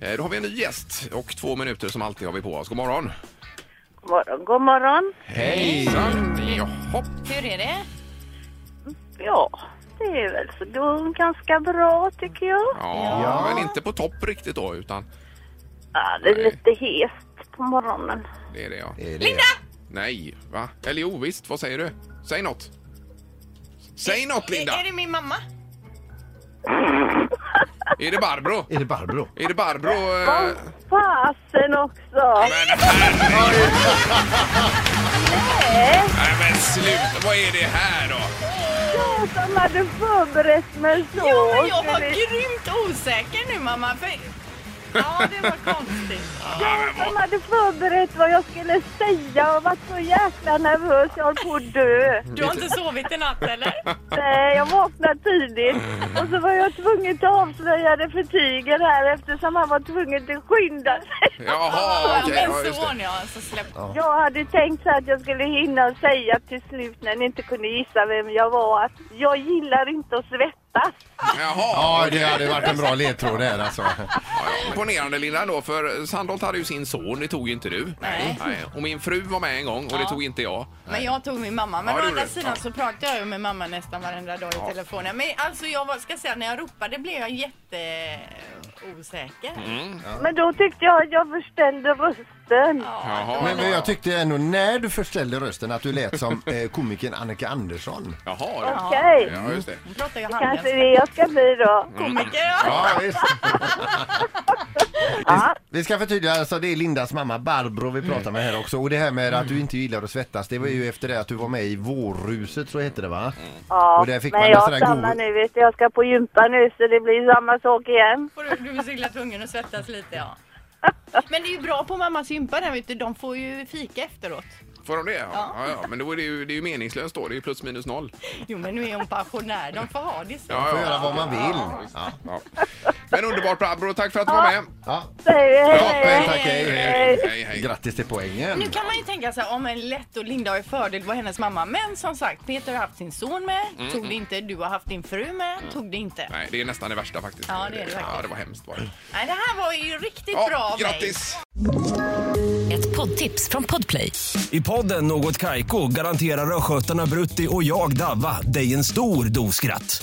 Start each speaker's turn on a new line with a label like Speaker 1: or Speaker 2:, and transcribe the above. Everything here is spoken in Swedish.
Speaker 1: Eh, vi en ny gäst och två minuter som alltid har vi på oss. God morgon!
Speaker 2: God morgon, god morgon.
Speaker 1: Hej! Jaha,
Speaker 3: Hur är det?
Speaker 2: Ja, det är väl så det går ganska bra tycker jag.
Speaker 1: ja, men inte på topp riktigt då utan
Speaker 2: Ja, det är
Speaker 1: Nej.
Speaker 2: lite hest på morgonen.
Speaker 1: det är det ja.
Speaker 4: Är det-
Speaker 3: Linda!
Speaker 1: Nej, va? Eller jo, visst, vad säger du? Säg något! Säg något Linda!
Speaker 3: Är, är det min mamma?
Speaker 1: Är det Barbro?
Speaker 4: Är det Barbro?
Speaker 1: Är det Barbro? eh,
Speaker 2: Åh, fasen också!
Speaker 1: Men herregud! Nej men sluta, vad är det här då?
Speaker 2: Jag som hade förberett mig så.
Speaker 3: Ja, men jag var
Speaker 2: skulle-
Speaker 3: grymt osäker nu mamma. För... Ja, det var konstigt.
Speaker 1: Ja, men
Speaker 2: som
Speaker 1: vad-
Speaker 2: hade förberett vad jag skulle säga och varit så jäkla nervös. Jag höll på att dö.
Speaker 3: Du har inte sovit i natt eller?
Speaker 2: Nej, jag vaknade tidigt och så var jag tvungen att avslöja det för Tiger här eftersom han var tvungen att skynda sig.
Speaker 1: Jaha,
Speaker 3: Ja,
Speaker 1: okej. ja,
Speaker 3: min
Speaker 1: just det.
Speaker 3: son ja, så alltså släppte
Speaker 2: Jag hade tänkt så att jag skulle hinna säga till slut när ni inte kunde gissa vem jag var att jag gillar inte att svettas.
Speaker 1: Jaha,
Speaker 4: Ja, det hade varit en bra ledtråd det här alltså.
Speaker 1: Ja, imponerande Linda då, för Sandholt hade ju sin son, det tog ju inte du.
Speaker 3: Nej.
Speaker 1: Och min fru var med en gång och det
Speaker 3: Ja.
Speaker 1: tog inte jag.
Speaker 3: Men jag tog min mamma. Men
Speaker 1: Ja, det
Speaker 3: å
Speaker 1: gjorde
Speaker 3: andra
Speaker 1: du.
Speaker 3: sidan
Speaker 1: Ja.
Speaker 3: så pratade jag ju med mamma nästan varenda dag i telefonen. Men alltså jag var, ska säga när jag ropade blev jag jätteosäker.
Speaker 1: Mm,
Speaker 2: Men då tyckte jag att jag förställde rösten.
Speaker 3: Ja.
Speaker 1: Jaha.
Speaker 4: Men, men jag tyckte ändå när du förställde rösten att du lät som eh, komikern Annika Andersson.
Speaker 1: Jaha, ja.
Speaker 2: Okej,
Speaker 1: ja, just det.
Speaker 3: Hon pratar ju
Speaker 2: kanske det är det jag ska
Speaker 3: handelsspråk.
Speaker 2: bli då.
Speaker 4: Mm.
Speaker 3: Komiker, ja.
Speaker 4: Ja, visst.
Speaker 2: Ja.
Speaker 4: Vi ska förtydliga, alltså det är Lindas mamma Barbro vi pratar med här också. Och det här med att du inte gillar att svettas, det var ju efter det att du var med i Vårruset, så hette det va?
Speaker 2: Ja,
Speaker 4: Och där fick man
Speaker 2: men
Speaker 4: en sån
Speaker 2: jag
Speaker 4: där
Speaker 2: stannar
Speaker 4: god-
Speaker 2: nu vet du. Jag ska på gympa nu så det blir samma sak igen.
Speaker 3: Får du, du är så illa tvungen att svettas lite ja. Men det är ju bra på mammas gympa där vet du. De får ju fika efteråt.
Speaker 1: Får de det? Ja. Ja. Ja, Men då är det, ju, det är ju meningslöst då, det är ju plus minus noll.
Speaker 3: Jo men nu är hon pensionär. De får ha det så.
Speaker 1: Ja,
Speaker 4: Får
Speaker 1: ja.
Speaker 4: göra vad man vill. Ja.
Speaker 1: Ja. Men underbart Barbro, tack för att du var med.
Speaker 4: Ja.
Speaker 2: Säger vi hej,
Speaker 4: Toppen,
Speaker 2: hej.
Speaker 4: tack hej.
Speaker 1: Hej, hej, hej.
Speaker 4: Grattis till poängen.
Speaker 3: Nu kan man ju tänka sig om en lätt och Linda har ju fördel var hennes mamma. Men som sagt, Peter har haft sin son med. Tog det inte. Du har haft din fru med. Tog det inte.
Speaker 1: Mm, Nej, det är nästan det värsta faktiskt.
Speaker 3: Ja, det är det
Speaker 1: Ja,
Speaker 3: faktiskt.
Speaker 1: det var hemskt var det.
Speaker 3: Nej, det här var ju riktigt bra
Speaker 1: Ja,
Speaker 3: av mig.
Speaker 1: grattis!
Speaker 5: Ett poddtips från Podplay.
Speaker 6: I podden Något Kaiko garanterar östgötarna Brutti och jag, Davva, dig en stor dos skratt.